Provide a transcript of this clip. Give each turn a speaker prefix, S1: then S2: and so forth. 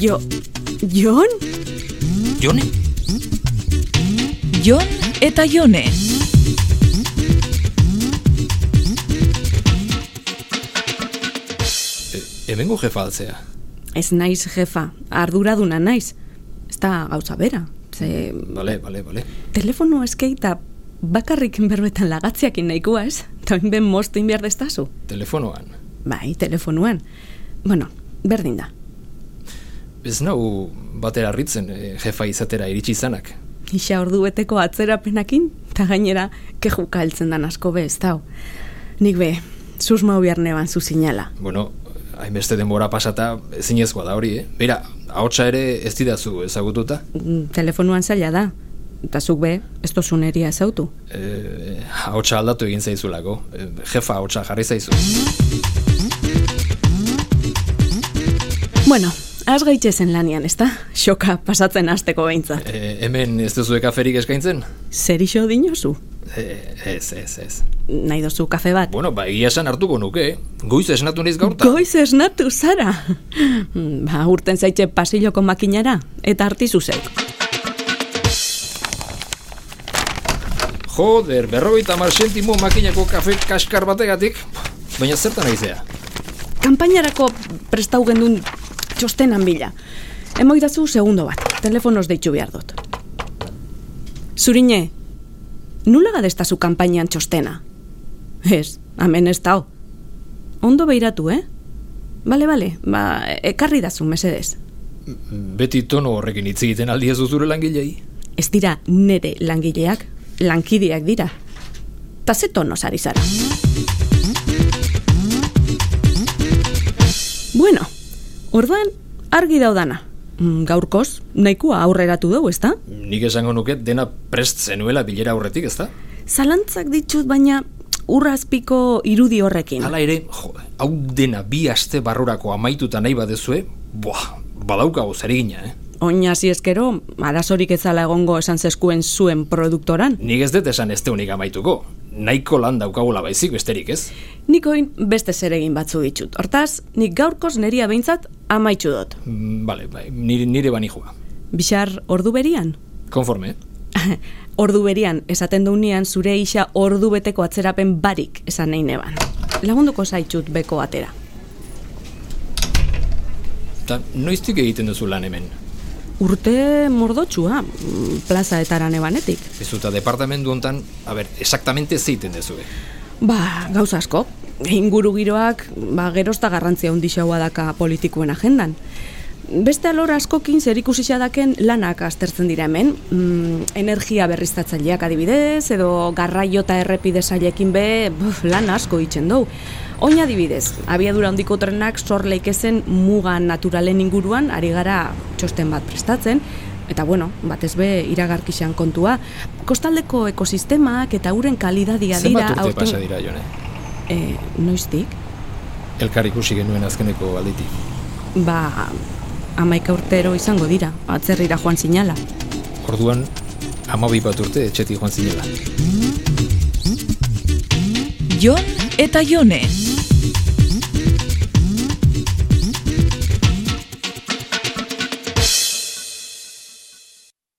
S1: Jo... Jon?
S2: Jone?
S3: Jon eta Jone.
S2: E, hemengo jefa altzea.
S1: Ez naiz jefa, arduraduna naiz. Ez da gauza bera. Ze,
S2: Bale, bale, bale.
S1: telefono eskeita bakarrik berbetan lagatziakin nahikoa ez? Toin ben moztu inbiar destazu.
S2: Telefonoan.
S1: Bai, telefonuan. Bueno, berdin da.
S2: Ez nau batera harritzen e, jefa izatera iritsi izanak.
S1: Isa ordubeteko atzerapenakin, eta gainera, kejuka heltzen dan asko be ez dau. Nik be, susma biar neban zu sinala.
S2: Bueno, hainbeste denbora pasata ezinezkoa da hori, eh? Bera, ahotsa ere ez didazu ezagututa.
S1: Mm, Telefonuan zaila da, eta zuk be, ez dozuneria ezautu.
S2: E, ahotsa aldatu egin zaizulako. E, jefa ahotsa jarri zaizu.
S1: Bueno, az gaitxezen lanian, ez da? Xoka pasatzen hasteko behintzat.
S2: E, hemen ez duzue kaferik eskaintzen?
S1: Zer iso dinozu?
S2: E, ez, ez, ez.
S1: Nahi dozu kafe bat?
S2: Bueno, ba, egia esan hartuko nuke, eh? Goiz esnatu naiz gaurta.
S1: Goiz esnatu zara! Mm, Ba, urten zaitxe pasiloko makinara, eta hartizu zeuk.
S2: Joder, berrogeita mar sentimo makinako kafe kaskar bategatik. Baina zertan aizea?
S1: Kampainarako prestau gendun txostenan bila. Emoidazu segundo bat, telefonoz deitxu behar dut. Zurine, nula gadestazu kanpainan txostena? Ez, hemen ez dao. Ondo behiratu, eh? Bale, bale, ba, ekarri dazu, mesedez.
S2: Beti tono horrekin hitz egiten aldi ez duzure langilei.
S1: Ez dira nere langileak, lankideak dira. Ta ze tonos ari zara. Bueno, orduan argi daudana. Mm, Gaurkoz, nahikoa aurreratu dugu, ezta?
S2: Nik esango nuke dena prest zenuela bilera aurretik, ezta?
S1: Zalantzak ditut, baina urrazpiko irudi horrekin.
S2: Hala ere, jo, hau dena bi aste barrurako amaituta nahi badezue, buah, badaukago zeregina, eh?
S1: Oinazi eskero, arazorik ezala egongo esan zeskuen zuen produktoran.
S2: Nik ez dut esan ez deunik amaituko. Nahiko lan daukagula baizik besterik, ez?
S1: Nik oin beste zeregin batzu ditut. Hortaz, nik gaurkoz neria behintzat amaitxu dut.
S2: Mm, Bale, bai, nire, nire bani joa.
S1: Bixar ordu berian?
S2: Konforme, eh?
S1: ordu berian, esaten dunean zure isa ordu beteko atzerapen barik esan nahi neban. Lagunduko zaitxut beko atera.
S2: Ta noiztik egiten duzu lan hemen?
S1: Urte mordotxua, mm, plaza eta nebanetik.
S2: Ez eta departamendu hontan, a ber, exactamente zeiten dezue.
S1: Ba, gauza asko. Inguru giroak, ba, gerozta garrantzia handixagoa daka politikuen agendan. Beste alor askokin zerikusia daken lanak aztertzen dira hemen. Mm, energia berriztatzaileak adibidez, edo garraio eta errepide sailekin be, buf, lan asko itzen dugu. Oin adibidez, abiadura handiko trenak sor leikezen muga naturalen inguruan ari gara txosten bat prestatzen, Eta bueno, batez be iragarkixan kontua, kostaldeko ekosistemak eta uren kalidadia dira
S2: Zenbat urte
S1: aurten-
S2: pasa dira, Jone?
S1: E, noiztik?
S2: Elkar ikusi genuen azkeneko alditik.
S1: Ba, amaika urtero izango dira, Ba, atzerrira joan sinala.
S2: Orduan, amabi bat urte etxetik joan zinela.
S3: Jon eta Jone.